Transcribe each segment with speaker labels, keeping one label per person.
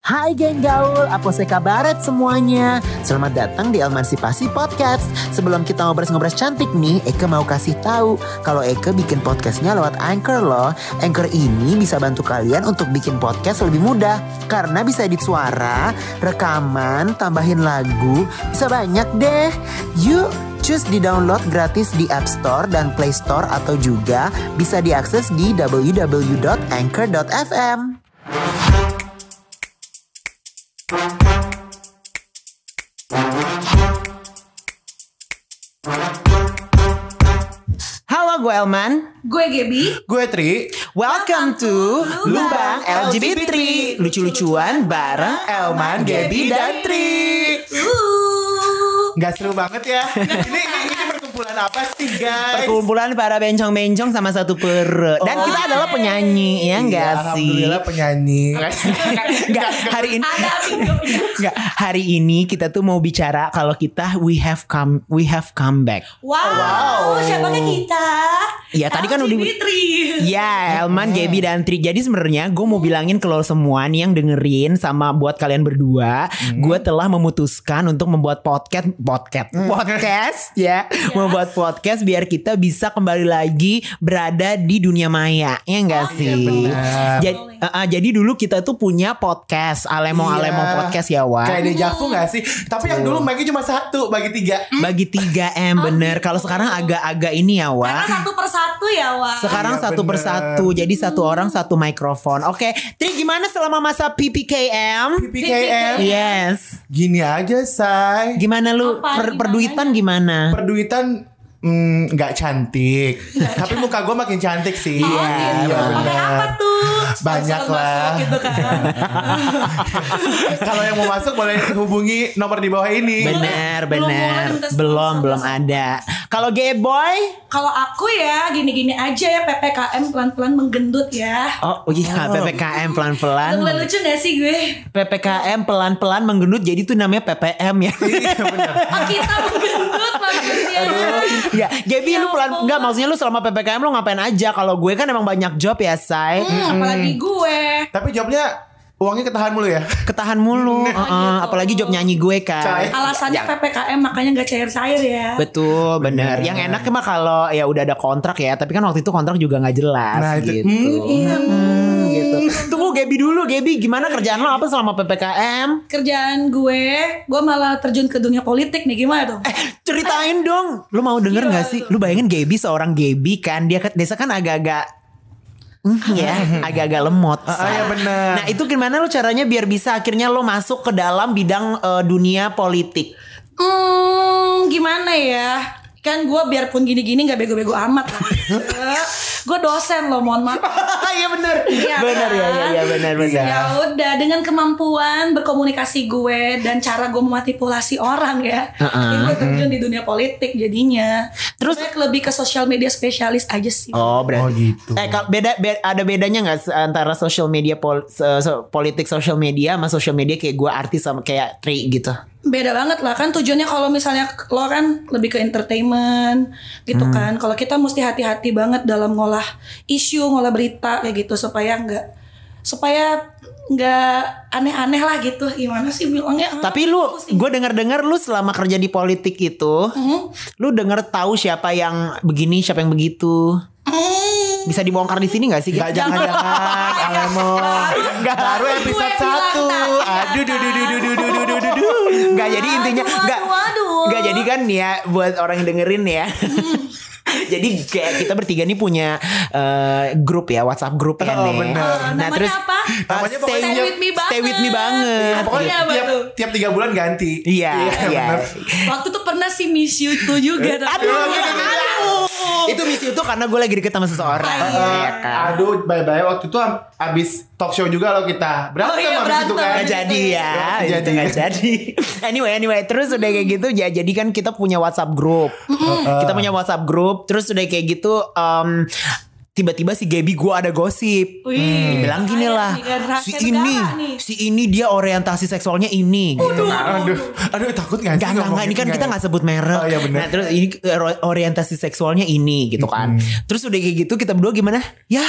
Speaker 1: Hai geng gaul, apa kabaret semuanya? Selamat datang di Emansipasi Podcast. Sebelum kita ngobrol-ngobrol cantik nih, Eke mau kasih tahu kalau Eke bikin podcastnya lewat Anchor loh. Anchor ini bisa bantu kalian untuk bikin podcast lebih mudah karena bisa edit suara, rekaman, tambahin lagu, bisa banyak deh. Yuk Cus di-download gratis di App Store dan Play Store atau juga bisa diakses di www.anchor.fm. Halo, gue Elman.
Speaker 2: Gue Gebi.
Speaker 3: Gue Tri.
Speaker 1: Welcome to Lubang
Speaker 2: Lubang
Speaker 1: LGBT. Lucu-lucuan bareng Elman, Gaby, dan Tri.
Speaker 2: Uh.
Speaker 3: Gak seru banget ya. ini, ini, ini perkumpulan apa sih guys?
Speaker 1: Perkumpulan para bencong-bencong sama satu perut. Dan kita adalah penyanyi, ya
Speaker 3: Iya,
Speaker 1: enggak sih?
Speaker 3: Alhamdulillah penyanyi.
Speaker 1: Enggak, hari ini
Speaker 2: Ada videonya.
Speaker 1: Nggak, hari ini kita tuh mau bicara kalau kita we have come we have come back.
Speaker 2: Wow, siapakah kita?
Speaker 1: Iya, tadi kan udah-
Speaker 2: Dimitri.
Speaker 1: Ya, Elman,
Speaker 3: Eh.
Speaker 1: Gaby, dan Tri. Jadi sebenarnya gue mau bilangin ke lo semua nih yang dengerin sama buat kalian berdua,
Speaker 3: Hmm.
Speaker 1: gue telah memutuskan untuk membuat podcast, podcast,
Speaker 3: Hmm.
Speaker 1: podcast, ya, membuat podcast biar kita bisa kembali lagi berada di dunia maya, ya
Speaker 2: Oh,
Speaker 1: enggak
Speaker 2: iya,
Speaker 1: sih?
Speaker 3: Oh, iya, benar.
Speaker 1: Jadi, eh, eh, jadi dulu kita tuh punya podcast, alemo alemo
Speaker 3: Iya.
Speaker 1: podcast ya, Wan.
Speaker 3: Kayak di Javu gak sih? Tapi yang dulu bagi cuma satu, bagi tiga.
Speaker 1: bagi 3 M
Speaker 3: Oh,
Speaker 1: bener kalau
Speaker 3: gitu.
Speaker 1: sekarang agak-agak ini ya
Speaker 2: Karena
Speaker 1: Wak
Speaker 2: satu persatu ya, Wak.
Speaker 1: sekarang
Speaker 3: Iya,
Speaker 1: satu
Speaker 3: bener. Hmm.
Speaker 1: persatu jadi satu orang satu mikrofon oke Tri gimana selama masa PPKM
Speaker 3: PPKM.
Speaker 1: yes
Speaker 3: Gini aja say.
Speaker 1: gimana lu
Speaker 2: Apa,
Speaker 1: per-
Speaker 2: gimana?
Speaker 1: perduitan gimana
Speaker 3: Perduitan mm, nggak cantik. Tapi muka gue makin cantik sih.
Speaker 2: Oh, gitu.
Speaker 3: iya
Speaker 2: Pakai
Speaker 3: benar.
Speaker 2: apa tuh?
Speaker 3: Banyak
Speaker 2: Sponsor
Speaker 3: lah.
Speaker 2: masuk Gitu kan.
Speaker 3: Kalau yang mau masuk boleh hubungi nomor di bawah ini.
Speaker 1: bener
Speaker 2: Belum
Speaker 1: bener
Speaker 2: mulai minta sponsor,
Speaker 1: belum belum
Speaker 2: sponsor.
Speaker 1: ada kalau gay boy
Speaker 2: Kalau aku ya gini-gini aja ya PPKM pelan-pelan menggendut ya.
Speaker 1: oh iya PPKM pelan-pelan
Speaker 2: Udah mulai lucu gak sih gue?
Speaker 1: PPKM pelan-pelan menggendut jadi itu namanya PPM ya
Speaker 3: Iya,
Speaker 2: Oh kita menggendut maksudnya.
Speaker 1: Ya, Gaby
Speaker 2: Ya
Speaker 1: lu pelan
Speaker 2: ampun.
Speaker 1: enggak maksudnya lu selama PPKM lu ngapain aja? Kalau gue kan emang banyak job ya, Say.
Speaker 2: Hmm, apalagi gue.
Speaker 3: Tapi jawabnya uangnya ketahan mulu ya.
Speaker 1: Ketahan mulu, Heeh,
Speaker 2: gitu.
Speaker 1: apalagi job nyanyi gue kan.
Speaker 3: Say.
Speaker 2: Alasannya PPKM makanya gak cair-cair ya.
Speaker 1: Betul, bener. Yang enak mah kalau ya udah ada kontrak ya, tapi kan waktu itu kontrak juga nggak jelas
Speaker 3: Nah, itu-
Speaker 1: gitu. Hmm, gitu. Tunggu Gaby dulu, Gaby gimana kerjaan lo apa selama PPKM?
Speaker 2: kerjaan gue, gue malah terjun ke dunia politik nih gimana tuh?
Speaker 1: Eh. Ceritain dong. Lu mau denger
Speaker 2: Gila
Speaker 1: nggak sih? Lu bayangin Gaby seorang Gaby kan, dia kan- desa kan agak-agak Hmm, ya agak-agak lemot. Sa.
Speaker 3: ya bener.
Speaker 1: Nah itu gimana lo caranya biar bisa akhirnya lo masuk ke dalam bidang eh, dunia politik?
Speaker 2: Hmm, gimana ya? Kan gue biarpun gini-gini nggak bego-bego amat. lah. gue dosen loh, mohon maaf.
Speaker 1: Iya benar.
Speaker 2: Iya
Speaker 1: benar ya,
Speaker 2: kan?
Speaker 1: ya, ya benar benar.
Speaker 2: Ya udah, dengan kemampuan berkomunikasi gue dan cara gue memanipulasi orang ya,
Speaker 1: Heeh.
Speaker 2: gue terjun di dunia politik jadinya.
Speaker 1: Terus-
Speaker 2: Terus lebih ke social media spesialis aja sih.
Speaker 1: Oh berarti.
Speaker 3: Oh, gitu.
Speaker 1: Eh kalau beda, be- ada bedanya nggak se- antara social media pol- se- se- politik social media sama social media kayak gue artis sama kayak Tri gitu?
Speaker 2: beda banget lah kan tujuannya kalau misalnya lo kan lebih ke entertainment gitu
Speaker 1: Hmm.
Speaker 2: kan kalau kita mesti hati-hati banget dalam ngolah isu ngolah berita kayak gitu supaya nggak supaya nggak aneh-aneh lah gitu gimana sih bilangnya Hmm,
Speaker 1: Tapi lu, gue dengar-dengar lu selama kerja di politik itu,
Speaker 2: Hmm.
Speaker 1: lu dengar tahu siapa yang begini, siapa yang begitu.
Speaker 2: Hmm.
Speaker 1: Bisa dibongkar di sini nggak sih?
Speaker 3: Gak
Speaker 1: Iya,
Speaker 3: jangan-jangan Alemo Baru episode
Speaker 2: Gue bilang
Speaker 3: 1
Speaker 1: Iya,
Speaker 2: tadi,
Speaker 3: Aduh duh duh duh duh duh duh duh duh duh
Speaker 1: Gak jadi intinya
Speaker 2: Aduh,
Speaker 1: Gak
Speaker 2: aduh, aduh. Hmm.
Speaker 1: Gak jadi kan nih ya Buat orang yang dengerin ya Jadi kayak kita bertiga nih punya eh, grup ya WhatsApp grup ya
Speaker 3: Oh,
Speaker 1: nih.
Speaker 3: bener.
Speaker 2: Namanya apa?
Speaker 1: eh, stay,
Speaker 3: Namanya pokoknya-
Speaker 1: with me banget Stay with me banget
Speaker 3: Pokoknya
Speaker 2: Iya,
Speaker 3: tiap,
Speaker 2: betul.
Speaker 3: tiap 3 bulan ganti
Speaker 1: Iya Iya
Speaker 3: bener.
Speaker 2: waktu tuh pernah si Miss You tuh juga
Speaker 1: Eh, Aduh
Speaker 2: tapi-
Speaker 1: Itu misi itu karena gue lagi deket sama seseorang
Speaker 3: Ah,
Speaker 1: Iya kan
Speaker 3: Eh, Aduh bye-bye Waktu itu abis talk show juga loh kita
Speaker 2: Oh,
Speaker 3: Berantem
Speaker 2: iya,
Speaker 3: abis itu
Speaker 2: berantem.
Speaker 3: kan
Speaker 1: Gak jadi ya
Speaker 3: Nggak
Speaker 1: Itu
Speaker 3: jadi.
Speaker 1: nggak jadi Anyway anyway Terus udah kayak gitu ya Jadi kan kita punya whatsapp group Kita punya whatsapp group Terus udah kayak gitu em, Tiba-tiba si Gaby gue ada gosip
Speaker 2: Wih,
Speaker 1: Bilang Hmm, gini
Speaker 2: bahaya
Speaker 1: lah
Speaker 2: nih, generasi
Speaker 1: Si
Speaker 2: negara
Speaker 1: ini
Speaker 2: nih.
Speaker 1: Si ini dia orientasi seksualnya ini gitu
Speaker 3: Aduh Aduh takut gak sih
Speaker 1: Enggak, enggak, enggak. Ini kan kita nggak sebut merek.
Speaker 3: Oh, iya, bener.
Speaker 1: Nah, terus ini eh, ro- orientasi seksualnya ini gitu kan. Terus udah kayak gitu kita berdua gimana? Yah,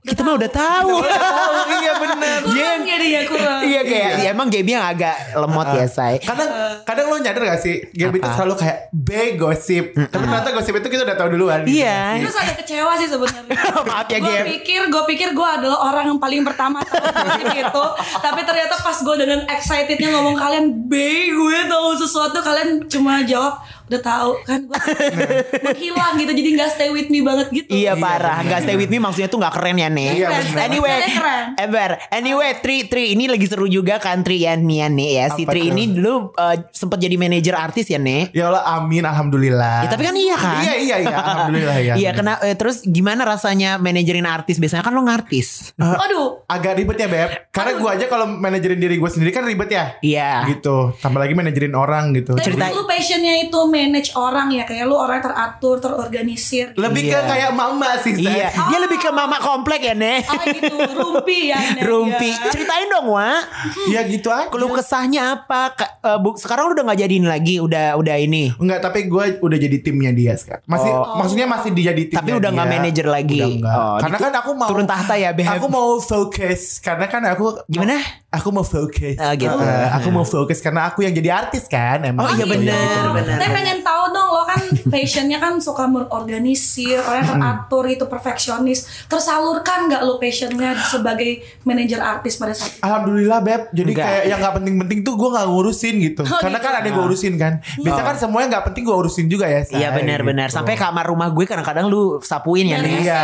Speaker 1: Kita mah udah tahu.
Speaker 3: tahu iya bener
Speaker 2: kurang ya dia kurang
Speaker 1: Iya kayak ya, emang Gaby yang agak lemot ya say.
Speaker 3: kadang kadang lo nyadar gak sih Gaby itu
Speaker 1: Apa?
Speaker 3: selalu kayak B gosip tapi ternyata gosip itu kita udah tahu duluan
Speaker 1: Iya.
Speaker 2: Eh, terus agak kecewa sih sebenarnya
Speaker 1: Maaf ya
Speaker 2: gue
Speaker 1: Gab.
Speaker 2: pikir gue pikir gue adalah orang yang paling pertama tahu gosip gitu tapi ternyata pas gue dengan excitednya ngomong kalian B gue tahu sesuatu kalian cuma jawab udah tahu kan gue menghilang gitu jadi nggak stay with me banget gitu
Speaker 1: Iya
Speaker 3: Iya,
Speaker 1: parah,
Speaker 3: bener.
Speaker 1: nggak stay with me maksudnya tuh nggak keren ya nih.
Speaker 3: Iya, bener.
Speaker 1: anyway,
Speaker 2: Maksudnya keren.
Speaker 1: Ember, anyway, Tri, Tri ini lagi seru juga kan Tri ya nih ya nih ya. Si
Speaker 3: Apa
Speaker 1: Tri
Speaker 3: tuh?
Speaker 1: ini dulu sempat jadi manajer artis ya nih.
Speaker 3: ya Allah amin alhamdulillah
Speaker 1: Ya, tapi kan iya kan?
Speaker 3: iya iya iya alhamdulillah ya
Speaker 1: Iya, kena eh, terus gimana rasanya manajerin artis? Biasanya kan lo ngartis.
Speaker 3: Nah,
Speaker 2: aduh
Speaker 3: agak ribet ya beb karena gue aja kalau manajerin diri gue sendiri kan ribet ya
Speaker 1: Iya.
Speaker 3: gitu tambah lagi manajerin orang gitu
Speaker 2: tapi
Speaker 1: Cerita-
Speaker 2: lu passionnya itu manage orang ya kayak lu orang teratur terorganisir
Speaker 3: lebih
Speaker 1: Iya.
Speaker 3: ke kayak mama sih Seth.
Speaker 1: Iya, dia lebih ke mama komplek ya, Nek.
Speaker 2: ah gitu rumpi ya Nek,
Speaker 1: Rumpi.
Speaker 2: ya.
Speaker 1: Ceritain dong, Wa.
Speaker 3: ya gitu aja
Speaker 1: Keluh kesahnya apa? Ka- eh, bu, sekarang lu udah nggak jadiin lagi, udah udah ini.
Speaker 3: Enggak, tapi gue udah jadi timnya dia sekarang. Masih, maksudnya masih dia jadi timnya
Speaker 1: Oh. Tapi udah nggak
Speaker 3: dia.
Speaker 1: manajer lagi.
Speaker 3: Udah nggak.
Speaker 1: Oh,
Speaker 3: karena
Speaker 1: ditu-
Speaker 3: kan aku mau
Speaker 1: turun tahta ya, Beb.
Speaker 3: Aku mau fokus karena kan aku
Speaker 1: Gimana?
Speaker 3: Aku mau fokus.
Speaker 1: Ah, gitu.
Speaker 3: Heeh, aku mau fokus karena aku yang jadi artis kan
Speaker 1: Oh,
Speaker 3: emang.
Speaker 1: iya,
Speaker 3: Gitu,
Speaker 1: bener,
Speaker 3: gitu.
Speaker 1: bener.
Speaker 2: Tapi pengen tahu dong lo kan passionnya kan suka mengorganisir, orang yang teratur itu perfeksionis. Tersalurkan nggak lo passionnya sebagai manajer artis pada saat itu?
Speaker 3: Alhamdulillah beb, jadi
Speaker 1: Enggak.
Speaker 3: kayak yang nggak penting-penting tuh gue nggak ngurusin gitu, karena
Speaker 2: gitu.
Speaker 3: kan ada gue urusin kan. Biasanya kan semuanya nggak penting gue urusin juga ya. Shay,
Speaker 1: Ah. Iya benar-benar.
Speaker 3: gitu.
Speaker 1: Sampai kamar rumah gue kadang-kadang lu sapuin ya,
Speaker 2: Beres.
Speaker 1: Nek.
Speaker 3: Iya,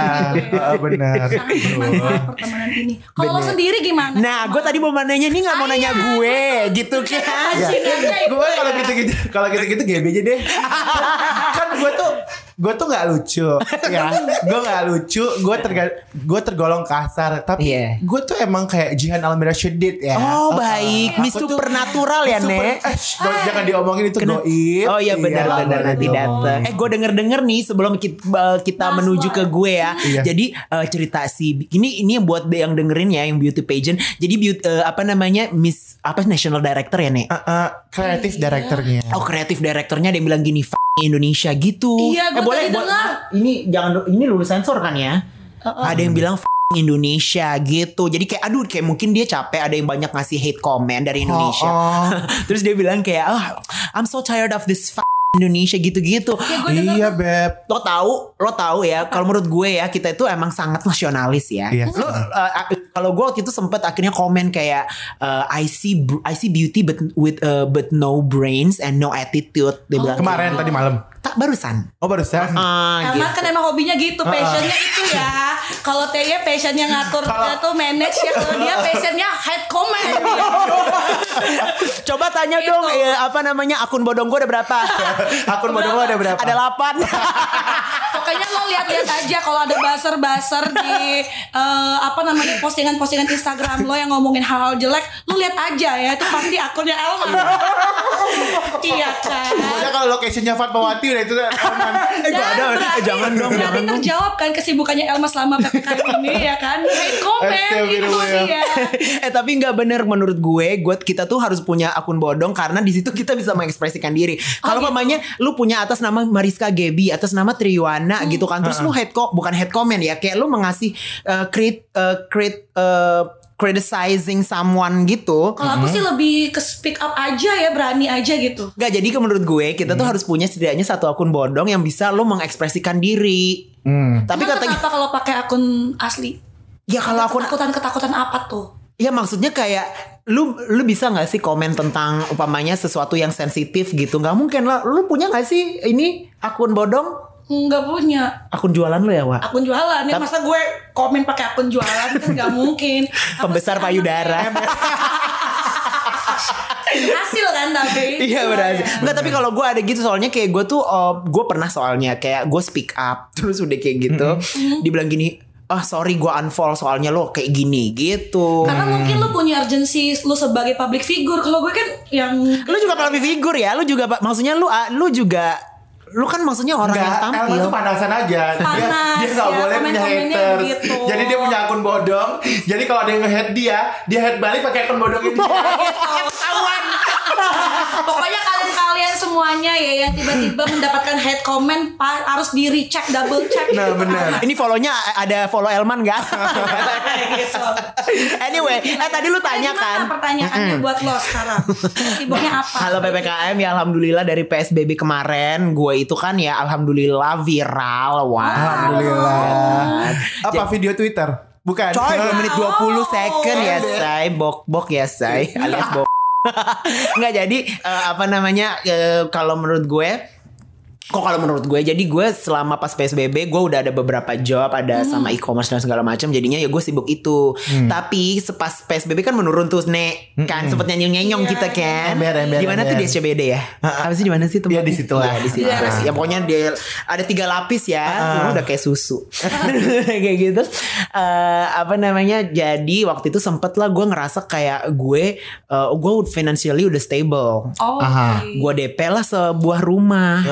Speaker 3: heeh, benar. Kan
Speaker 2: Sangat bermanfaat pertemanan ini. Kalau lo sendiri gimana?
Speaker 1: Nah, gue tadi mau nanya nih nggak mau nanya gue, gitu
Speaker 2: Iya.
Speaker 1: kan?
Speaker 3: Iya.
Speaker 2: Anjing aja itu.
Speaker 3: gue kalau gitu gitu kalau gitu gitu gb aja deh kan gue tuh gue tuh nggak lucu ya gue nggak lucu gue terga- gue tergolong kasar tapi
Speaker 1: Iya.
Speaker 3: gue tuh emang kayak Jihan Almira Syedid ya
Speaker 1: Oh baik, Miss
Speaker 3: Aku tuh-
Speaker 1: Supernatural ya,
Speaker 3: Super-
Speaker 1: Nek.
Speaker 3: eh, shh, do- jangan diomongin itu goib
Speaker 1: Oh iya benar-benar
Speaker 3: boleh
Speaker 1: nanti
Speaker 3: diomongin.
Speaker 1: datang. Eh gue denger-denger nih sebelum kita, kita
Speaker 2: Mas,
Speaker 1: menuju
Speaker 2: Mas.
Speaker 1: ke gue ya.
Speaker 3: Iya.
Speaker 1: Jadi eh, cerita si ini ini buat yang dengerin ya yang beauty pageant. Jadi beauty, eh, apa namanya Miss apa National Director ya Nek?
Speaker 3: Eh, eh, kreatif direkturnya
Speaker 1: Oh kreatif direkturnya ada yang bilang gini "F- Indonesia gitu.
Speaker 2: Iya, gua tadi
Speaker 1: buat-
Speaker 2: dengar.
Speaker 1: ini jangan ini lulus sensor kan ya? Ada yang bilang "F- Indonesia gitu. Jadi kayak aduh kayak mungkin dia capek ada yang banyak ngasih hate comment dari Indonesia.
Speaker 3: Oh, oh.
Speaker 1: Terus dia bilang kayak oh, I'm so tired of this f- Indonesia gitu-gitu.
Speaker 2: Ya gue denger
Speaker 3: iya beb
Speaker 1: Lo tahu, lo tahu ya. Kalau menurut gue ya kita itu emang sangat nasionalis ya.
Speaker 3: Iya.
Speaker 1: Lo uh, a- kalau gue waktu itu sempet akhirnya komen kayak uh, I see br- I see beauty but with uh, but no brains and no attitude. Dia bilang
Speaker 3: kemarin tadi malam
Speaker 1: tak barusan.
Speaker 3: oh barusan
Speaker 1: Ah,
Speaker 2: karena
Speaker 1: gitu.
Speaker 2: kan emang hobinya gitu, passionnya itu ya. Kalau Teye passionnya ngatur, dia tuh manage ya. Kalau dia passionnya head comment.
Speaker 1: Coba tanya
Speaker 2: Gitu.
Speaker 1: dong ya, apa namanya akun bodong gue ada berapa?
Speaker 3: akun bodoh lo ada berapa
Speaker 1: ada 8.
Speaker 2: Pokoknya lo lihat-lihat aja kalau ada baser-baser di eh, apa namanya postingan-postingan Instagram lo yang ngomongin hal-hal jelek, lo lihat aja ya itu pasti akunnya Elma. iya kan.
Speaker 3: pokoknya kalau locationnya Fatmawati udah itu udah aman.
Speaker 1: Eh, gua ada. Eh,
Speaker 2: berarti-
Speaker 1: jangan dong,
Speaker 2: berarti
Speaker 1: jangan dong.
Speaker 2: terjawab kan kesibukannya Elma selama PPKM ini ya kan. Hate comment gitu
Speaker 3: Astagfirullah.
Speaker 2: dia.
Speaker 1: eh tapi nggak bener menurut gue, gue kita tuh harus punya akun bodong karena di situ kita bisa mengekspresikan diri. Kalau
Speaker 2: gitu.
Speaker 1: mamanya lu punya atas nama Mariska Gebi, atas nama Triwana gitu kan, terus lu head co- bukan head comment ya, kayak lu mengasih uh, create uh, create uh, criticizing someone gitu.
Speaker 2: Kalau aku sih lebih ke speak up aja ya, berani aja gitu.
Speaker 1: Gak jadi ke menurut gue kita tuh harus punya setidaknya satu akun bodong yang bisa lu mengekspresikan diri.
Speaker 3: Hmm.
Speaker 1: Tapi
Speaker 2: Emang
Speaker 1: katanya
Speaker 2: kenapa kalau pakai akun asli?
Speaker 1: ya kalau akun
Speaker 2: ketakutan-ketakutan apa tuh?
Speaker 1: Ya maksudnya kayak lu lu bisa nggak sih komen tentang umpamanya sesuatu yang sensitif gitu? Nggak mungkin lah. Lu punya nggak sih ini akun bodong?
Speaker 2: Nggak punya.
Speaker 1: Akun jualan lu ya, Wak?
Speaker 2: akun jualan ya masa gue komen pakai akun jualan kan nggak mungkin Apa
Speaker 1: Pembesar
Speaker 2: sih
Speaker 1: payudara.
Speaker 2: hasil kan tapi
Speaker 1: Iya berhasil. Enggak tapi kalau gue ada gitu soalnya kayak gue tuh uh, gue pernah soalnya kayak gue speak up terus udah kayak gitu dibilang gini, "Ah, sorry gue unfollow soalnya lo kayak gini." gitu.
Speaker 2: karena mungkin lu punya urgensi lu sebagai public figure kalau gue kan yang
Speaker 1: Lu juga public figure ya? Lu juga maksudnya lu ah, lu juga lu kan maksudnya orang yang
Speaker 3: Enggak, Elma
Speaker 1: tampil.
Speaker 3: tuh panasan aja. dia
Speaker 2: Panas,
Speaker 3: dia nggak
Speaker 2: ya,
Speaker 3: boleh punya
Speaker 2: komen-komennya
Speaker 3: haters.
Speaker 2: gitu.
Speaker 3: Jadi dia punya akun bodong. Jadi kalau ada yang nge-hate dia, dia
Speaker 1: Oh,
Speaker 3: hate balik pakai akun bodongin dia.
Speaker 2: ketahuan pokoknya kalian kalian semua semuanya ya yang tiba-tiba mendapatkan hate comment pa- harus di recheck double check
Speaker 3: Nah,
Speaker 2: gitu.
Speaker 3: benar.
Speaker 1: Ini follownya ada follow Elman gak? anyway, eh tadi lu tanya
Speaker 2: Nah, gimana
Speaker 1: kan.
Speaker 2: pertanyaannya buat lo sekarang sibuknya apa
Speaker 1: Halo PPKM ya alhamdulillah dari PSBB kemarin gue itu kan ya alhamdulillah viral wah.
Speaker 3: Alhamdulillah. Apa video Twitter? Bukan.
Speaker 1: Coy, dua menit 20 second ya
Speaker 3: Pendek.
Speaker 1: say, bok-bok ya say, alias bok. Nggak jadi eh, apa namanya eh, kalau menurut gue Kok kalau menurut gue jadi gue selama pas PSBB gue udah ada beberapa job ada sama e-commerce dan segala macam jadinya ya gue sibuk itu tapi sepas PSBB kan menurun tuh nek kan sempet nyenyong nyenyong
Speaker 2: Iya,
Speaker 1: kita kan
Speaker 3: ember, ember,
Speaker 1: gimana tuh di
Speaker 3: ember.
Speaker 1: SCBD ya apa sih di mana sih
Speaker 3: Iya, di situ lah.
Speaker 1: Iya, di situ ya
Speaker 2: Iya.
Speaker 1: pokoknya dia ada tiga lapis ya Lu udah kayak susu kayak gitu Eh, apa namanya jadi waktu itu sempet lah gue ngerasa kayak gue eh, gue financially udah stable
Speaker 2: oh
Speaker 3: Aha.
Speaker 2: oke.
Speaker 1: gue DP lah sebuah rumah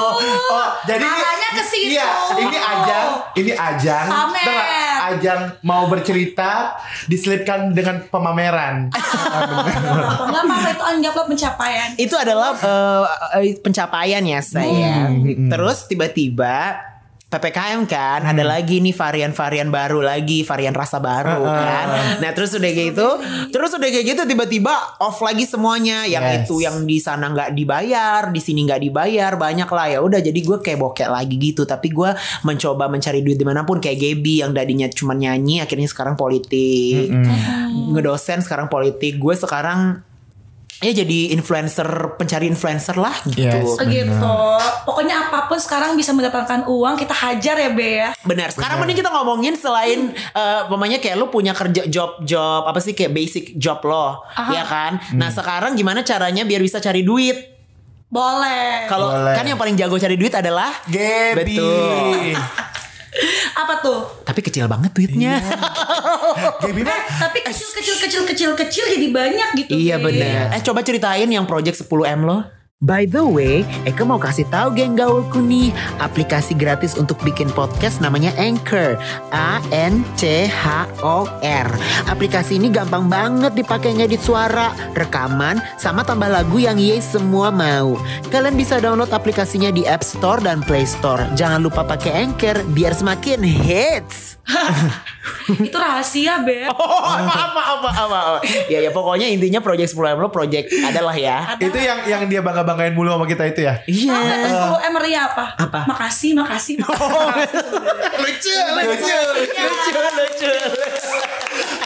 Speaker 3: Oh, oh, jadi ini-
Speaker 2: Arahnya ke situ.
Speaker 3: Iya, ini ajang, ini ajang,
Speaker 2: Pamer.
Speaker 3: tau nggak? ajang mau bercerita diselipkan dengan pemameran.
Speaker 2: nggak apa-apa itu anggaplah pencapaian
Speaker 1: itu adalah eh, eh, pencapaian ya saya. Terus tiba-tiba PPKM kan ada lagi nih varian-varian baru lagi, varian rasa baru kan. Nah, terus udah kayak gitu, terus udah kayak gitu tiba-tiba off lagi semuanya. Yang
Speaker 3: Yes.
Speaker 1: itu yang di sana nggak dibayar, di sini nggak dibayar, banyak lah ya. Udah jadi gue kayak bokek lagi gitu, tapi gue mencoba mencari duit dimanapun kayak Gaby yang tadinya cuma nyanyi akhirnya sekarang politik. Ngedosen sekarang politik. Gue sekarang ya jadi influencer pencari influencer lah gitu
Speaker 3: Yes.
Speaker 2: gitu
Speaker 1: iya.
Speaker 2: pokoknya apapun sekarang bisa mendapatkan uang kita hajar ya be ya
Speaker 1: benar sekarang mending kita ngomongin selain eh umpamanya kayak lu punya kerja job job apa sih kayak basic job lo
Speaker 2: Aha.
Speaker 1: ya kan nah sekarang gimana caranya biar bisa cari duit
Speaker 2: boleh
Speaker 1: kalau
Speaker 3: Boleh.
Speaker 1: kan yang paling jago cari duit adalah
Speaker 3: Gaby.
Speaker 1: Betul.
Speaker 2: apa tuh
Speaker 1: tapi kecil banget duitnya
Speaker 3: Gaby mah
Speaker 2: eh, tapi kecil kecil kecil kecil kecil jadi banyak gitu
Speaker 1: Iya
Speaker 2: Be.
Speaker 1: benar. Eh coba ceritain yang project 10M lo. By the way, Eka mau kasih tahu geng gaulku nih aplikasi gratis untuk bikin podcast namanya Anchor. A N C H O R. Aplikasi ini gampang banget dipakai ngedit suara, rekaman, sama tambah lagu yang ye semua mau. Kalian bisa download aplikasinya di App Store dan Play Store. Jangan lupa pakai Anchor biar semakin hits.
Speaker 2: itu rahasia be
Speaker 1: Oh, apa apa apa apa. apa. Ya ya pokoknya intinya project 10M lo project adalah ya.
Speaker 2: Ada
Speaker 3: itu yang yang dia bangga banggain mulu sama kita itu ya.
Speaker 1: Iya.
Speaker 2: Kalau M Ria apa?
Speaker 1: Apa? Oh.
Speaker 2: Makasih, makasih, makasih.
Speaker 1: lucu,
Speaker 3: lucu,
Speaker 1: lucu, lucu.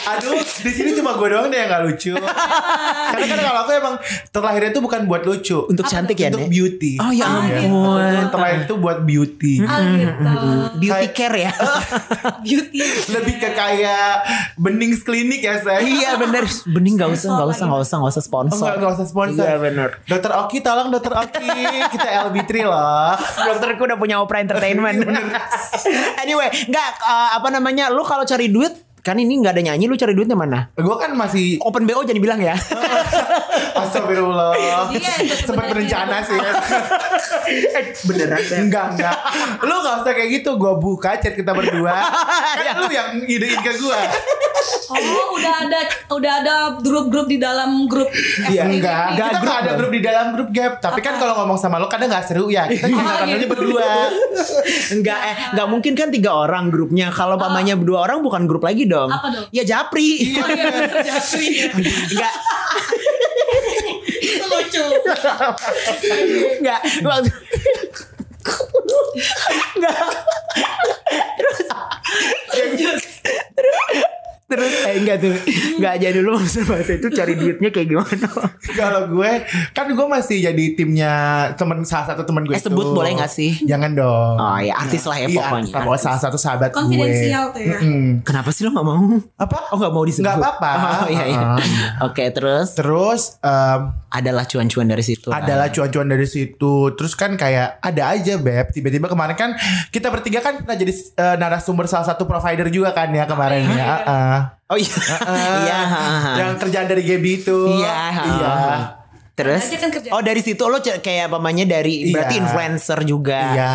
Speaker 3: Aduh, di sini cuma gue doang deh yang gak lucu. Karena kan kalau aku emang terlahirnya itu bukan buat lucu,
Speaker 1: Untuk cantik ya,
Speaker 3: untuk
Speaker 1: Nek?
Speaker 3: beauty.
Speaker 1: Oh ya ampun.
Speaker 3: Terlahir itu buat beauty.
Speaker 2: Ah, gitu.
Speaker 1: Beauty care ya.
Speaker 2: Beauty.
Speaker 3: Lebih ke kayak bening klinik ya saya.
Speaker 1: iya bener. Bening gak usah, gak usah, gak usah, gak usah
Speaker 3: Oh,
Speaker 1: sponsor.
Speaker 3: enggak, enggak usah sponsor.
Speaker 1: Iya bener.
Speaker 3: Dokter Oki tolong Dokter Oki kita LB3 loh.
Speaker 1: Dokterku udah punya Opera Entertainment. anyway, nggak eh, apa namanya? Lu kalau cari duit kan ini nggak ada nyanyi, lu cari duitnya mana?
Speaker 3: Gue kan masih
Speaker 1: Open BO jangan bilang ya.
Speaker 3: Astagfirullah.
Speaker 2: Iya, itu
Speaker 3: Sempat
Speaker 2: sebenarnya.
Speaker 3: berencana sih.
Speaker 1: Beneran
Speaker 3: enggak, enggak. Lu gak usah kayak gitu. Gue buka chat kita berdua. Kan lu yang idein ke gue.
Speaker 2: Oh, udah ada udah ada grup-grup di dalam grup.
Speaker 3: Iya,
Speaker 2: FTV.
Speaker 3: enggak.
Speaker 1: Enggak,
Speaker 3: Kita
Speaker 1: grup
Speaker 3: gak ada
Speaker 1: dong.
Speaker 3: grup di dalam grup gap. Tapi kan kalau ngomong sama lu kadang gak seru ya. Kita cuma kadangnya
Speaker 2: gitu.
Speaker 3: berdua.
Speaker 1: Enggak eh enggak mungkin kan tiga orang grupnya. Kalau pamannya dua orang bukan grup lagi dong.
Speaker 2: Apa dong?
Speaker 1: Ya Japri.
Speaker 2: Oh, iya, bener, Japri.
Speaker 1: Enggak
Speaker 2: Itu lucu.
Speaker 1: enggak waktu enggak Iya, terus terus eh, enggak tuh enggak aja dulu maksud bahasa itu cari duitnya kayak gimana
Speaker 3: Kalau gue kan gue masih jadi timnya temen salah satu temen gue
Speaker 1: Eh, sebut
Speaker 3: itu.
Speaker 1: boleh nggak sih?
Speaker 3: Jangan dong.
Speaker 1: oh ya artis lah ya
Speaker 3: Iya,
Speaker 1: pokoknya
Speaker 3: sama salah satu sahabat gue.
Speaker 2: Konfidensial tuh ya.
Speaker 3: Mm-mm.
Speaker 1: kenapa sih lo nggak mau
Speaker 3: Apa?
Speaker 1: oh nggak mau disebut
Speaker 3: Nggak apa-apa.
Speaker 1: oh iya iya
Speaker 3: Ah.
Speaker 1: oke terus
Speaker 3: Terus em,
Speaker 1: adalah cuan-cuan dari situ kan?
Speaker 3: adalah cuan-cuan dari situ. Terus kan kayak ada aja beb. Tiba-tiba kemarin kan kita bertiga kan pernah jadi eh, narasumber salah satu provider juga kan ya kemarin ya. ah, ah.
Speaker 1: oh iya
Speaker 3: Ah,
Speaker 1: iya ha, ha.
Speaker 3: Yang kerjaan dari Gaby itu.
Speaker 1: Iya.
Speaker 3: Iya.
Speaker 1: Terus?
Speaker 2: Aja kan kerja.
Speaker 1: Oh dari situ lo c- kayak pamanya dari
Speaker 3: Iya.
Speaker 1: berarti influencer juga.
Speaker 3: Iya,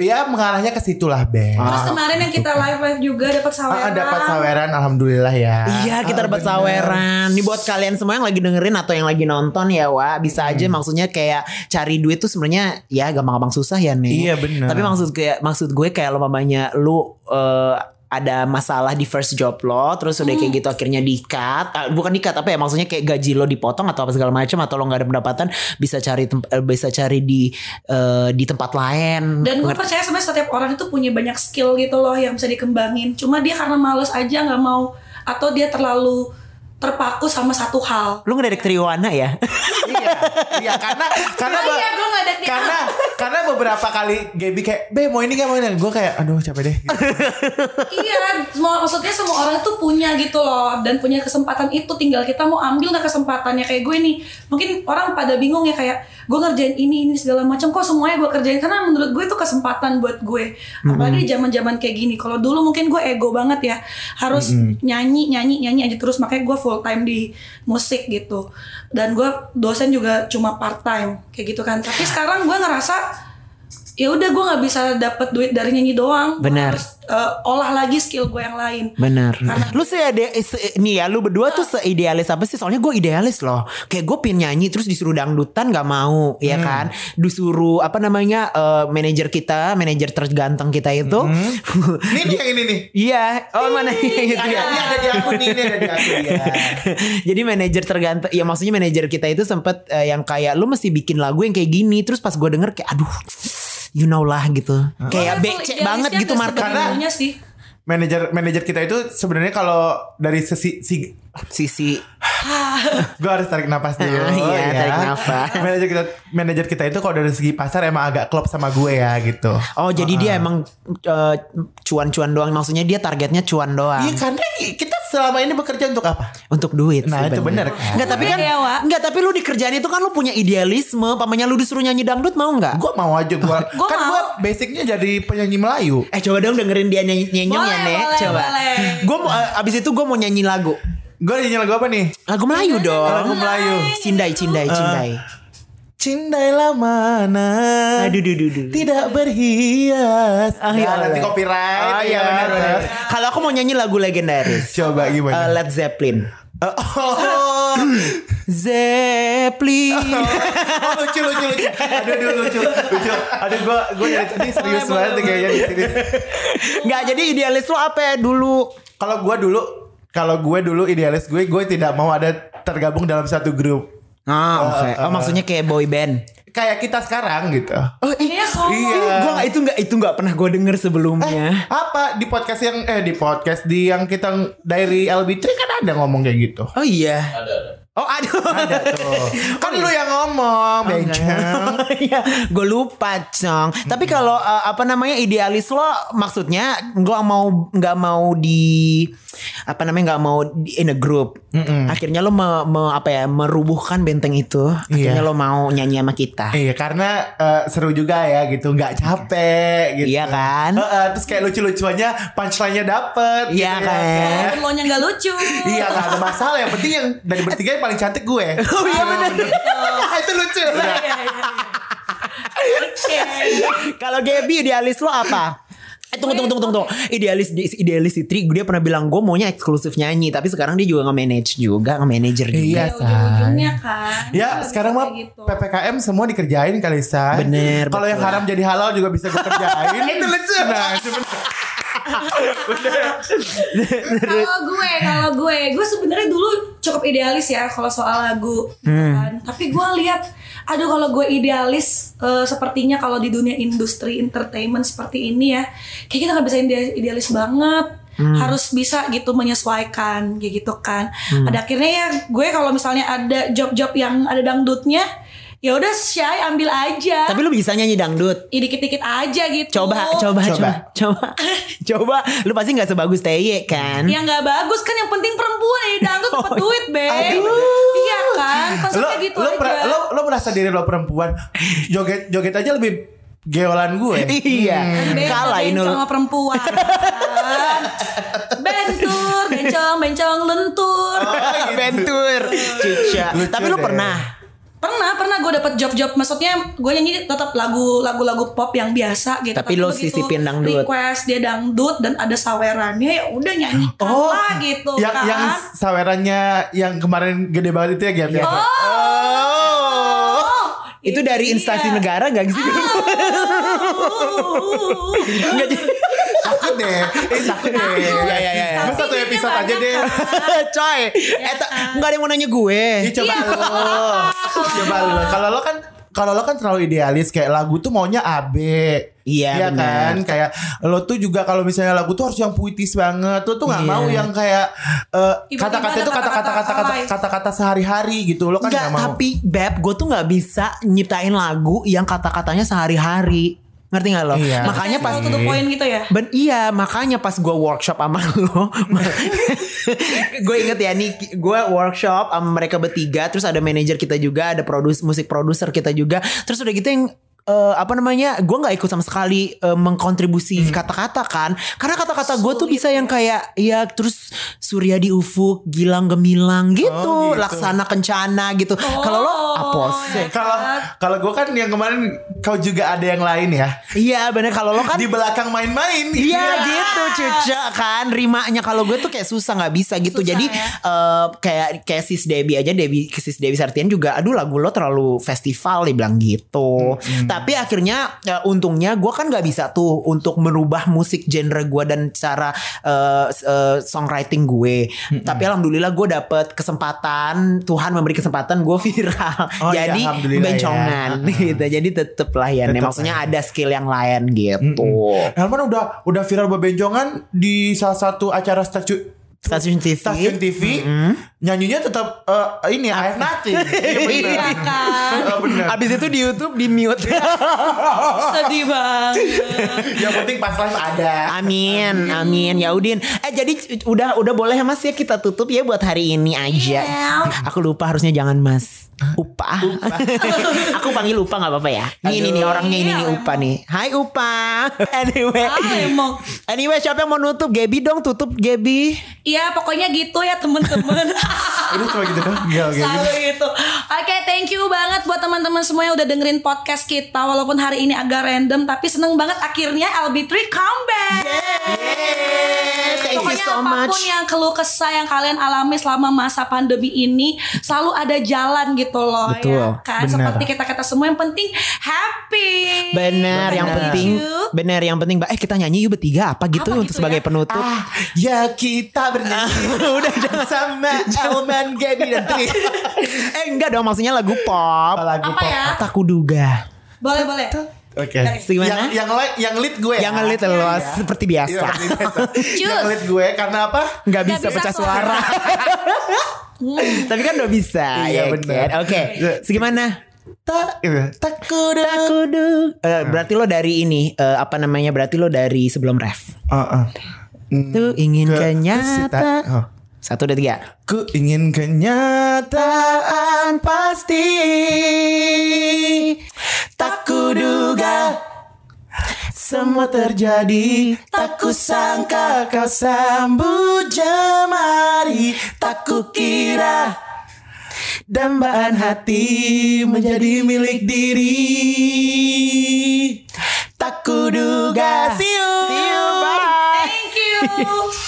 Speaker 3: ya mengarahnya ke situ lah Ben.
Speaker 2: Terus kemarin yang kita live live juga dapat saweran.
Speaker 3: Ah, dapat saweran, alhamdulillah ya.
Speaker 1: Iya kita
Speaker 3: Ah,
Speaker 1: dapat
Speaker 3: bener.
Speaker 1: saweran. Nih buat kalian semua yang lagi dengerin atau yang lagi nonton ya Wa. Bisa aja
Speaker 3: Hmm.
Speaker 1: maksudnya kayak cari duit tuh sebenarnya ya gampang-gampang susah ya nih.
Speaker 3: Iya, bener.
Speaker 1: Tapi maksud gue, maksud gue kayak lo mamanya lu eh, ada masalah di first job lo terus udah
Speaker 3: Hmm.
Speaker 1: kayak gitu akhirnya di-cut Ah, bukan di-cut apa ya maksudnya kayak gaji lo dipotong atau apa segala macam atau lo nggak ada pendapatan bisa cari tem- eh, bisa cari di eh, di tempat lain
Speaker 2: Dan gue
Speaker 1: Ngerti?
Speaker 2: percaya sebenarnya setiap orang itu punya banyak skill gitu loh yang bisa dikembangin. Cuma dia karena males aja nggak mau atau dia terlalu terpaku sama satu hal.
Speaker 1: lu nggak dari Triwana ya
Speaker 3: iya, iya karena karena
Speaker 2: Nah,
Speaker 3: ba-
Speaker 2: iya, gua nggak ada niat.
Speaker 3: karena karena beberapa kali Gaby kayak Be mau ini gak mau ini gue kayak aduh capek deh gitu.
Speaker 2: iya, semua- maksudnya semua orang tuh punya gitu loh dan punya kesempatan itu tinggal kita mau ambil nggak kesempatannya kayak gue nih. Mungkin orang pada bingung ya kayak gue ngerjain ini ini segala macam kok semuanya gue kerjain karena menurut gue itu kesempatan buat gue. Apalagi di zaman-zaman kayak gini. Kalau dulu mungkin gue ego banget ya. Harus nyanyi nyanyi nyanyi aja terus makanya gue full time di musik gitu. Dan gue dosen juga cuma part time kayak gitu kan. Tapi sekarang gue ngerasa ya udah gue nggak bisa dapat duit dari nyanyi doang Gua
Speaker 1: Benar.
Speaker 2: harus, eh, olah lagi skill gue yang lain
Speaker 1: Benar.
Speaker 2: Karena-
Speaker 1: Lu sih ada se- nih ya, lu berdua tuh seidealis apa sih? Soalnya gue idealis loh. Kayak gue pin nyanyi terus disuruh dangdutan nggak mau, ya kan? Disuruh apa namanya eh, manajer kita, manajer terganteng kita itu. Hmm.
Speaker 3: ini nih yang ini nih
Speaker 1: Iya, oh mana itu
Speaker 3: ada,
Speaker 1: ya.
Speaker 3: ini ada di aku nih ini ada di aku ya.
Speaker 1: Jadi manajer terganteng, ya maksudnya manajer kita itu sempet eh, yang kayak lu mesti bikin lagu yang kayak gini. Terus pas gue denger kayak aduh, you know lah gitu. Kayak becek
Speaker 2: Level Iya, idealisnya
Speaker 1: banget gitu
Speaker 2: ada
Speaker 1: marker
Speaker 2: sebenarnya sih
Speaker 3: manajer manajer kita itu sebenarnya kalau dari sesi si
Speaker 1: sisi.
Speaker 3: gue harus tarik nafas dulu Oh,
Speaker 1: Ah, iya, tarik nafas.
Speaker 3: manajer kita manajer kita itu kalau dari segi pasar emang agak klop sama gue ya gitu
Speaker 1: Oh jadi dia emang eh, cuan-cuan doang maksudnya dia targetnya cuan doang.
Speaker 3: Iya karena kita selama ini bekerja untuk apa?
Speaker 1: untuk duit.
Speaker 3: Nah,
Speaker 1: sih
Speaker 3: itu
Speaker 1: bener.
Speaker 3: bener, kan?
Speaker 1: Enggak tapi kan
Speaker 2: Iya, Wak.
Speaker 1: enggak tapi lu di kerjaan itu kan lu punya idealisme, pamannya lu disuruh nyanyi dangdut mau enggak?
Speaker 3: Gue mau aja gue
Speaker 2: Gua
Speaker 3: kan
Speaker 2: mau.
Speaker 3: gue basicnya jadi penyanyi Melayu.
Speaker 1: Eh coba dong dengerin dia nyanyi nyanyi
Speaker 2: Boleh,
Speaker 1: ya Nek,
Speaker 2: boleh,
Speaker 1: coba.
Speaker 2: boleh.
Speaker 1: Gue mau eh, abis itu gue mau nyanyi lagu.
Speaker 3: Gue nyanyi lagu apa nih?
Speaker 1: Lagu Melayu Eh. dong.
Speaker 3: Lagu Melayu.
Speaker 1: Cindai, cindai, cindai.
Speaker 3: Cindailah mana
Speaker 1: Aduh, duh, duh, duh.
Speaker 3: tidak berhias.
Speaker 1: Ah, iya,
Speaker 3: Nah,
Speaker 1: boleh.
Speaker 3: nanti copyright.
Speaker 1: Oh, iya,
Speaker 3: ya.
Speaker 1: benar, benar. Kalau aku mau nyanyi lagu legendaris.
Speaker 3: Coba
Speaker 1: Eh,
Speaker 3: gimana?
Speaker 1: Led Zeppelin.
Speaker 3: Eh, oh,
Speaker 1: Zeppelin.
Speaker 3: oh, lucu lucu lucu. Aduh, aduh lucu lucu. Aduh gue gue dari tadi serius banget nih kayaknya di sini.
Speaker 1: Enggak jadi idealis lu apa ya dulu?
Speaker 3: Kalau gue dulu kalau gue dulu idealis gue gue tidak mau ada tergabung dalam satu grup
Speaker 1: Ah, oke. Oh, maksudnya kayak boy band.
Speaker 3: kayak kita sekarang gitu.
Speaker 1: Oh,
Speaker 2: Iya, sombong.
Speaker 3: Iya.
Speaker 1: Gua nggak- itu nggak itu nggak pernah gue denger sebelumnya.
Speaker 3: Eh, Apa di podcast yang eh di podcast di yang kita dari LB3 kan ada ngomong kayak gitu.
Speaker 1: Oh iya. Oh aduh. Ada Oh,
Speaker 3: Tuh. Kan lu yang ngomong, Bencong.
Speaker 1: Iya, gue lupa cong. Tapi kalau eh, apa namanya idealis lo, maksudnya gue mau nggak mau di apa namanya nggak mau di, in a group. Akhirnya lo me, me- apa ya merubuhkan benteng itu. Akhirnya
Speaker 3: Iya.
Speaker 1: lo mau nyanyi sama kita.
Speaker 3: Iya karena eh, seru juga ya gitu nggak capek gitu
Speaker 1: Iya kan?
Speaker 3: Eh, eh, terus kayak lucu-lucuannya punchline-nya dapet
Speaker 1: Iya
Speaker 3: gitu
Speaker 1: kan?
Speaker 3: ya.
Speaker 2: Walaupun lo nya nggak lucu
Speaker 3: Iya gak ada masalah Yang penting yang dari bertiga yang paling cantik gue
Speaker 1: Oh iya bener.
Speaker 3: Itu lucu Nah,
Speaker 2: Iya,
Speaker 3: ya,
Speaker 2: iya, iya. Oke.
Speaker 1: Kalau Gaby idealis lo apa? Eh tunggu tunggu tunggu tunggu. tunggu. Idealis idealis Fitri dia pernah bilang gue maunya eksklusif nyanyi, tapi sekarang dia juga nge-manage juga, nge-manager juga.
Speaker 3: Iya
Speaker 2: ya, Ujung-ujungnya kan
Speaker 3: Ya
Speaker 2: Bisa
Speaker 3: sekarang mah
Speaker 2: kayak gitu.
Speaker 3: PPKM semua dikerjain kali San
Speaker 1: Bener,
Speaker 3: Kalau yang
Speaker 1: betul.
Speaker 3: haram jadi halal juga bisa gue kerjain Itu lucu Nah itu bener.
Speaker 2: Kalau gue, kalau gue, gue sebenarnya dulu cukup idealis ya kalau soal lagu, gitu
Speaker 1: Hmm.
Speaker 2: kan. Tapi gue lihat, aduh kalau gue idealis, eh, sepertinya kalau di dunia industri entertainment seperti ini ya, kayak kita nggak bisa ide- idealis banget.
Speaker 1: Hmm.
Speaker 2: Harus bisa gitu menyesuaikan, kayak gitu kan.
Speaker 1: Hmm.
Speaker 2: Pada akhirnya ya gue kalau misalnya ada job-job yang ada dangdutnya, ya udah shy ambil aja.
Speaker 1: Tapi lu bisa nyanyi dangdut.
Speaker 2: Ya, dikit-dikit aja gitu.
Speaker 1: Coba, coba, coba,
Speaker 3: Coba.
Speaker 1: coba, coba. Lu pasti nggak sebagus Teye kan?
Speaker 2: yang nggak bagus kan yang penting perempuan ya dangdut dapat duit be
Speaker 1: aduh.
Speaker 2: iya kan
Speaker 3: Oh, lo,
Speaker 2: konsepnya gitu
Speaker 3: lo,
Speaker 2: aja
Speaker 3: per- lo, lo merasa diri lo perempuan joget joget aja lebih geolan gue
Speaker 1: Iya.
Speaker 2: Ben,
Speaker 1: Kalah
Speaker 2: bencong
Speaker 1: Inul.
Speaker 2: sama perempuan kan. bentur bencong bencong lentur
Speaker 3: Hmm.
Speaker 1: Bentur. Cica.
Speaker 3: Lucu
Speaker 1: Tapi lu
Speaker 3: deh.
Speaker 1: pernah.
Speaker 2: pernah gue dapat job-job maksudnya gue nyanyi tetap lagu lagu-lagu pop yang biasa gitu
Speaker 1: Tapi lo
Speaker 2: begitu
Speaker 1: sisipin dangdut.
Speaker 2: request dia dangdut dan ada sawerannya ya udah nyanyi
Speaker 3: Oh,
Speaker 2: lah gitu
Speaker 3: yang
Speaker 2: kan
Speaker 3: yang sawerannya yang kemarin gede banget itu ya Gap ya.
Speaker 1: Iya.
Speaker 3: Oh.
Speaker 2: oh
Speaker 1: Itu dari
Speaker 2: iya. Uh,
Speaker 1: instansi negara gak sih? Nggak jadi.
Speaker 3: Takut deh. Eh, takut deh.
Speaker 1: Iya, iya, iya.
Speaker 3: Gue satu episode aja deh.
Speaker 1: Coy, eta nggak ada yang mau nanya gue.
Speaker 3: Ih, Eh, coba lo. Coba lo. Kalau lo kan kalau lo kan terlalu idealis kayak lagu tuh maunya AB.
Speaker 1: Iya, benar.
Speaker 3: kan kayak lo tuh juga kalau misalnya lagu tuh harus yang puitis banget. Lo tuh nggak
Speaker 1: Iya.
Speaker 3: mau yang kayak eh,
Speaker 2: Tiba-tiba
Speaker 3: kata-kata
Speaker 2: ada
Speaker 3: itu kata-kata
Speaker 2: kata-kata
Speaker 3: kata-kata
Speaker 2: alay.
Speaker 3: kata-kata sehari-hari gitu. Lo kan
Speaker 1: Nggak,
Speaker 3: nggak mau.
Speaker 1: tapi Beb, gue tuh nggak bisa nyiptain lagu yang kata-katanya sehari-hari. Ngerti gak lo?
Speaker 3: Iya.
Speaker 1: Makanya pas
Speaker 2: to the point gitu ya
Speaker 1: Ben, iya makanya pas gue workshop sama lo Gue inget ya nih Gue workshop sama mereka bertiga Terus ada manajer kita juga Ada produs, musik produser kita juga Terus udah gitu yang eh, apa namanya gue nggak ikut sama sekali eh,
Speaker 3: Hmm.
Speaker 1: mengkontribusi kata-kata kan karena kata-kata gue tuh bisa yang kayak ya terus surya di ufuk gilang gemilang gitu,
Speaker 3: Oh, gitu. Oh.
Speaker 1: laksana kencana gitu kalau lo apose
Speaker 3: Kalau
Speaker 2: Iya.
Speaker 3: kalau gue kan yang kemarin kau juga ada yang lain ya.
Speaker 1: iya bener kalau lo kan
Speaker 3: Di belakang main-main.
Speaker 1: Iya gitu cuca kan rimanya kalau gue tuh kayak susah nggak bisa gitu
Speaker 2: Susah,
Speaker 1: jadi
Speaker 2: ya.
Speaker 1: eh, kayak kayak sis Debbie aja Debbie sis Debbie Sartian juga aduh lagu lo terlalu festival dia bilang gitu tapi akhirnya eh, untungnya gue kan nggak bisa tuh untuk merubah musik genre gue dan cara eh, s- eh, songwriting gue tapi alhamdulillah gue dapet kesempatan Tuhan memberi kesempatan gue viral
Speaker 3: Oh, iya,
Speaker 1: jadi
Speaker 3: alhamdulillah ya.
Speaker 1: bencongan gitu jadi tetep lah ya
Speaker 3: Tetep
Speaker 1: maksudnya ada skill yang lain gitu
Speaker 3: Helman udah udah viral bebenjongan di salah satu acara stasiun
Speaker 1: stasiun TV.
Speaker 3: stasiun TV nyanyinya tetap eh, ini I have nothing. Iya bener.
Speaker 2: Iya kan
Speaker 3: Eh, bener.
Speaker 1: Abis itu di YouTube di mute.
Speaker 3: Iya,
Speaker 2: sedih banget
Speaker 3: Yang penting pas live ada.
Speaker 1: amin, amin ya Udin. Eh jadi c- udah udah boleh ya Mas ya kita tutup ya buat hari ini aja.
Speaker 2: Iya.
Speaker 1: Aku lupa harusnya jangan Mas. Upa. Aku panggil Upa nggak apa-apa ya. Nih ini nih orangnya ini
Speaker 2: Iya,
Speaker 1: nih Upa nih. Hai Upa. Anyway.
Speaker 2: Ah, emang
Speaker 1: Anyway siapa yang mau nutup Gaby dong tutup Gaby.
Speaker 2: Iya pokoknya gitu ya temen-temen
Speaker 3: Ini cuma gitu kan. Iya oke.
Speaker 2: Selalu gitu Oke thank you banget buat teman-teman semua yang udah dengerin podcast kita Walaupun hari ini agak random Tapi seneng banget akhirnya LB3 comeback
Speaker 1: Thank you
Speaker 2: Pokoknya
Speaker 1: so
Speaker 2: apapun ya,
Speaker 1: much.
Speaker 2: yang keluh kesah yang kalian alami selama masa pandemi ini Selalu ada jalan gitu loh
Speaker 1: Betul,
Speaker 2: ya kan
Speaker 3: benar.
Speaker 2: Seperti kita-kita semua yang penting happy
Speaker 1: Bener yang
Speaker 2: Thank
Speaker 1: penting
Speaker 2: you.
Speaker 1: Bener yang penting Mbak, Eh kita nyanyi yuk bertiga Apa gitu
Speaker 2: Apa
Speaker 1: untuk
Speaker 2: gitu
Speaker 1: sebagai
Speaker 2: ya?
Speaker 1: penutup
Speaker 3: Ah, ya kita bernyanyi
Speaker 1: Udah jangan
Speaker 3: sama Elman Gaby dan Tri.
Speaker 1: Eh enggak dong maksudnya lagu pop
Speaker 3: Lagu
Speaker 2: Apa
Speaker 3: pop.
Speaker 2: ya?
Speaker 1: Tak kuduga
Speaker 2: Boleh boleh
Speaker 3: Oke.
Speaker 1: Gimana?
Speaker 3: Yang yang li- yang lead gue.
Speaker 1: Yang ngelit luas Seperti
Speaker 3: Iya,
Speaker 1: biasa
Speaker 3: yang lead biasa. Yang lead gue karena apa?
Speaker 1: Enggak
Speaker 2: Nggak
Speaker 1: bisa
Speaker 2: bisa
Speaker 1: pecah suara
Speaker 2: suara.
Speaker 1: Tapi kan udah bisa ya
Speaker 3: Iya, bener.
Speaker 1: kan? Oke Segimana
Speaker 3: Tak iya. tak
Speaker 1: Tak kudu- Eh, Berarti lo dari ini eh, Apa namanya Berarti lo dari sebelum ref
Speaker 3: Heeh. eh.
Speaker 1: Tuh ingin
Speaker 3: Hmm. Ke-
Speaker 1: kenyata
Speaker 3: Oh.
Speaker 1: Satu dua tiga
Speaker 3: Ku ingin kenyataan pasti Tak kuduga Semua terjadi Tak kusangka kau sambut jemari Tak kukira Dambaan hati menjadi milik diri Tak kuduga See you,
Speaker 1: See you, bye.
Speaker 2: Thank you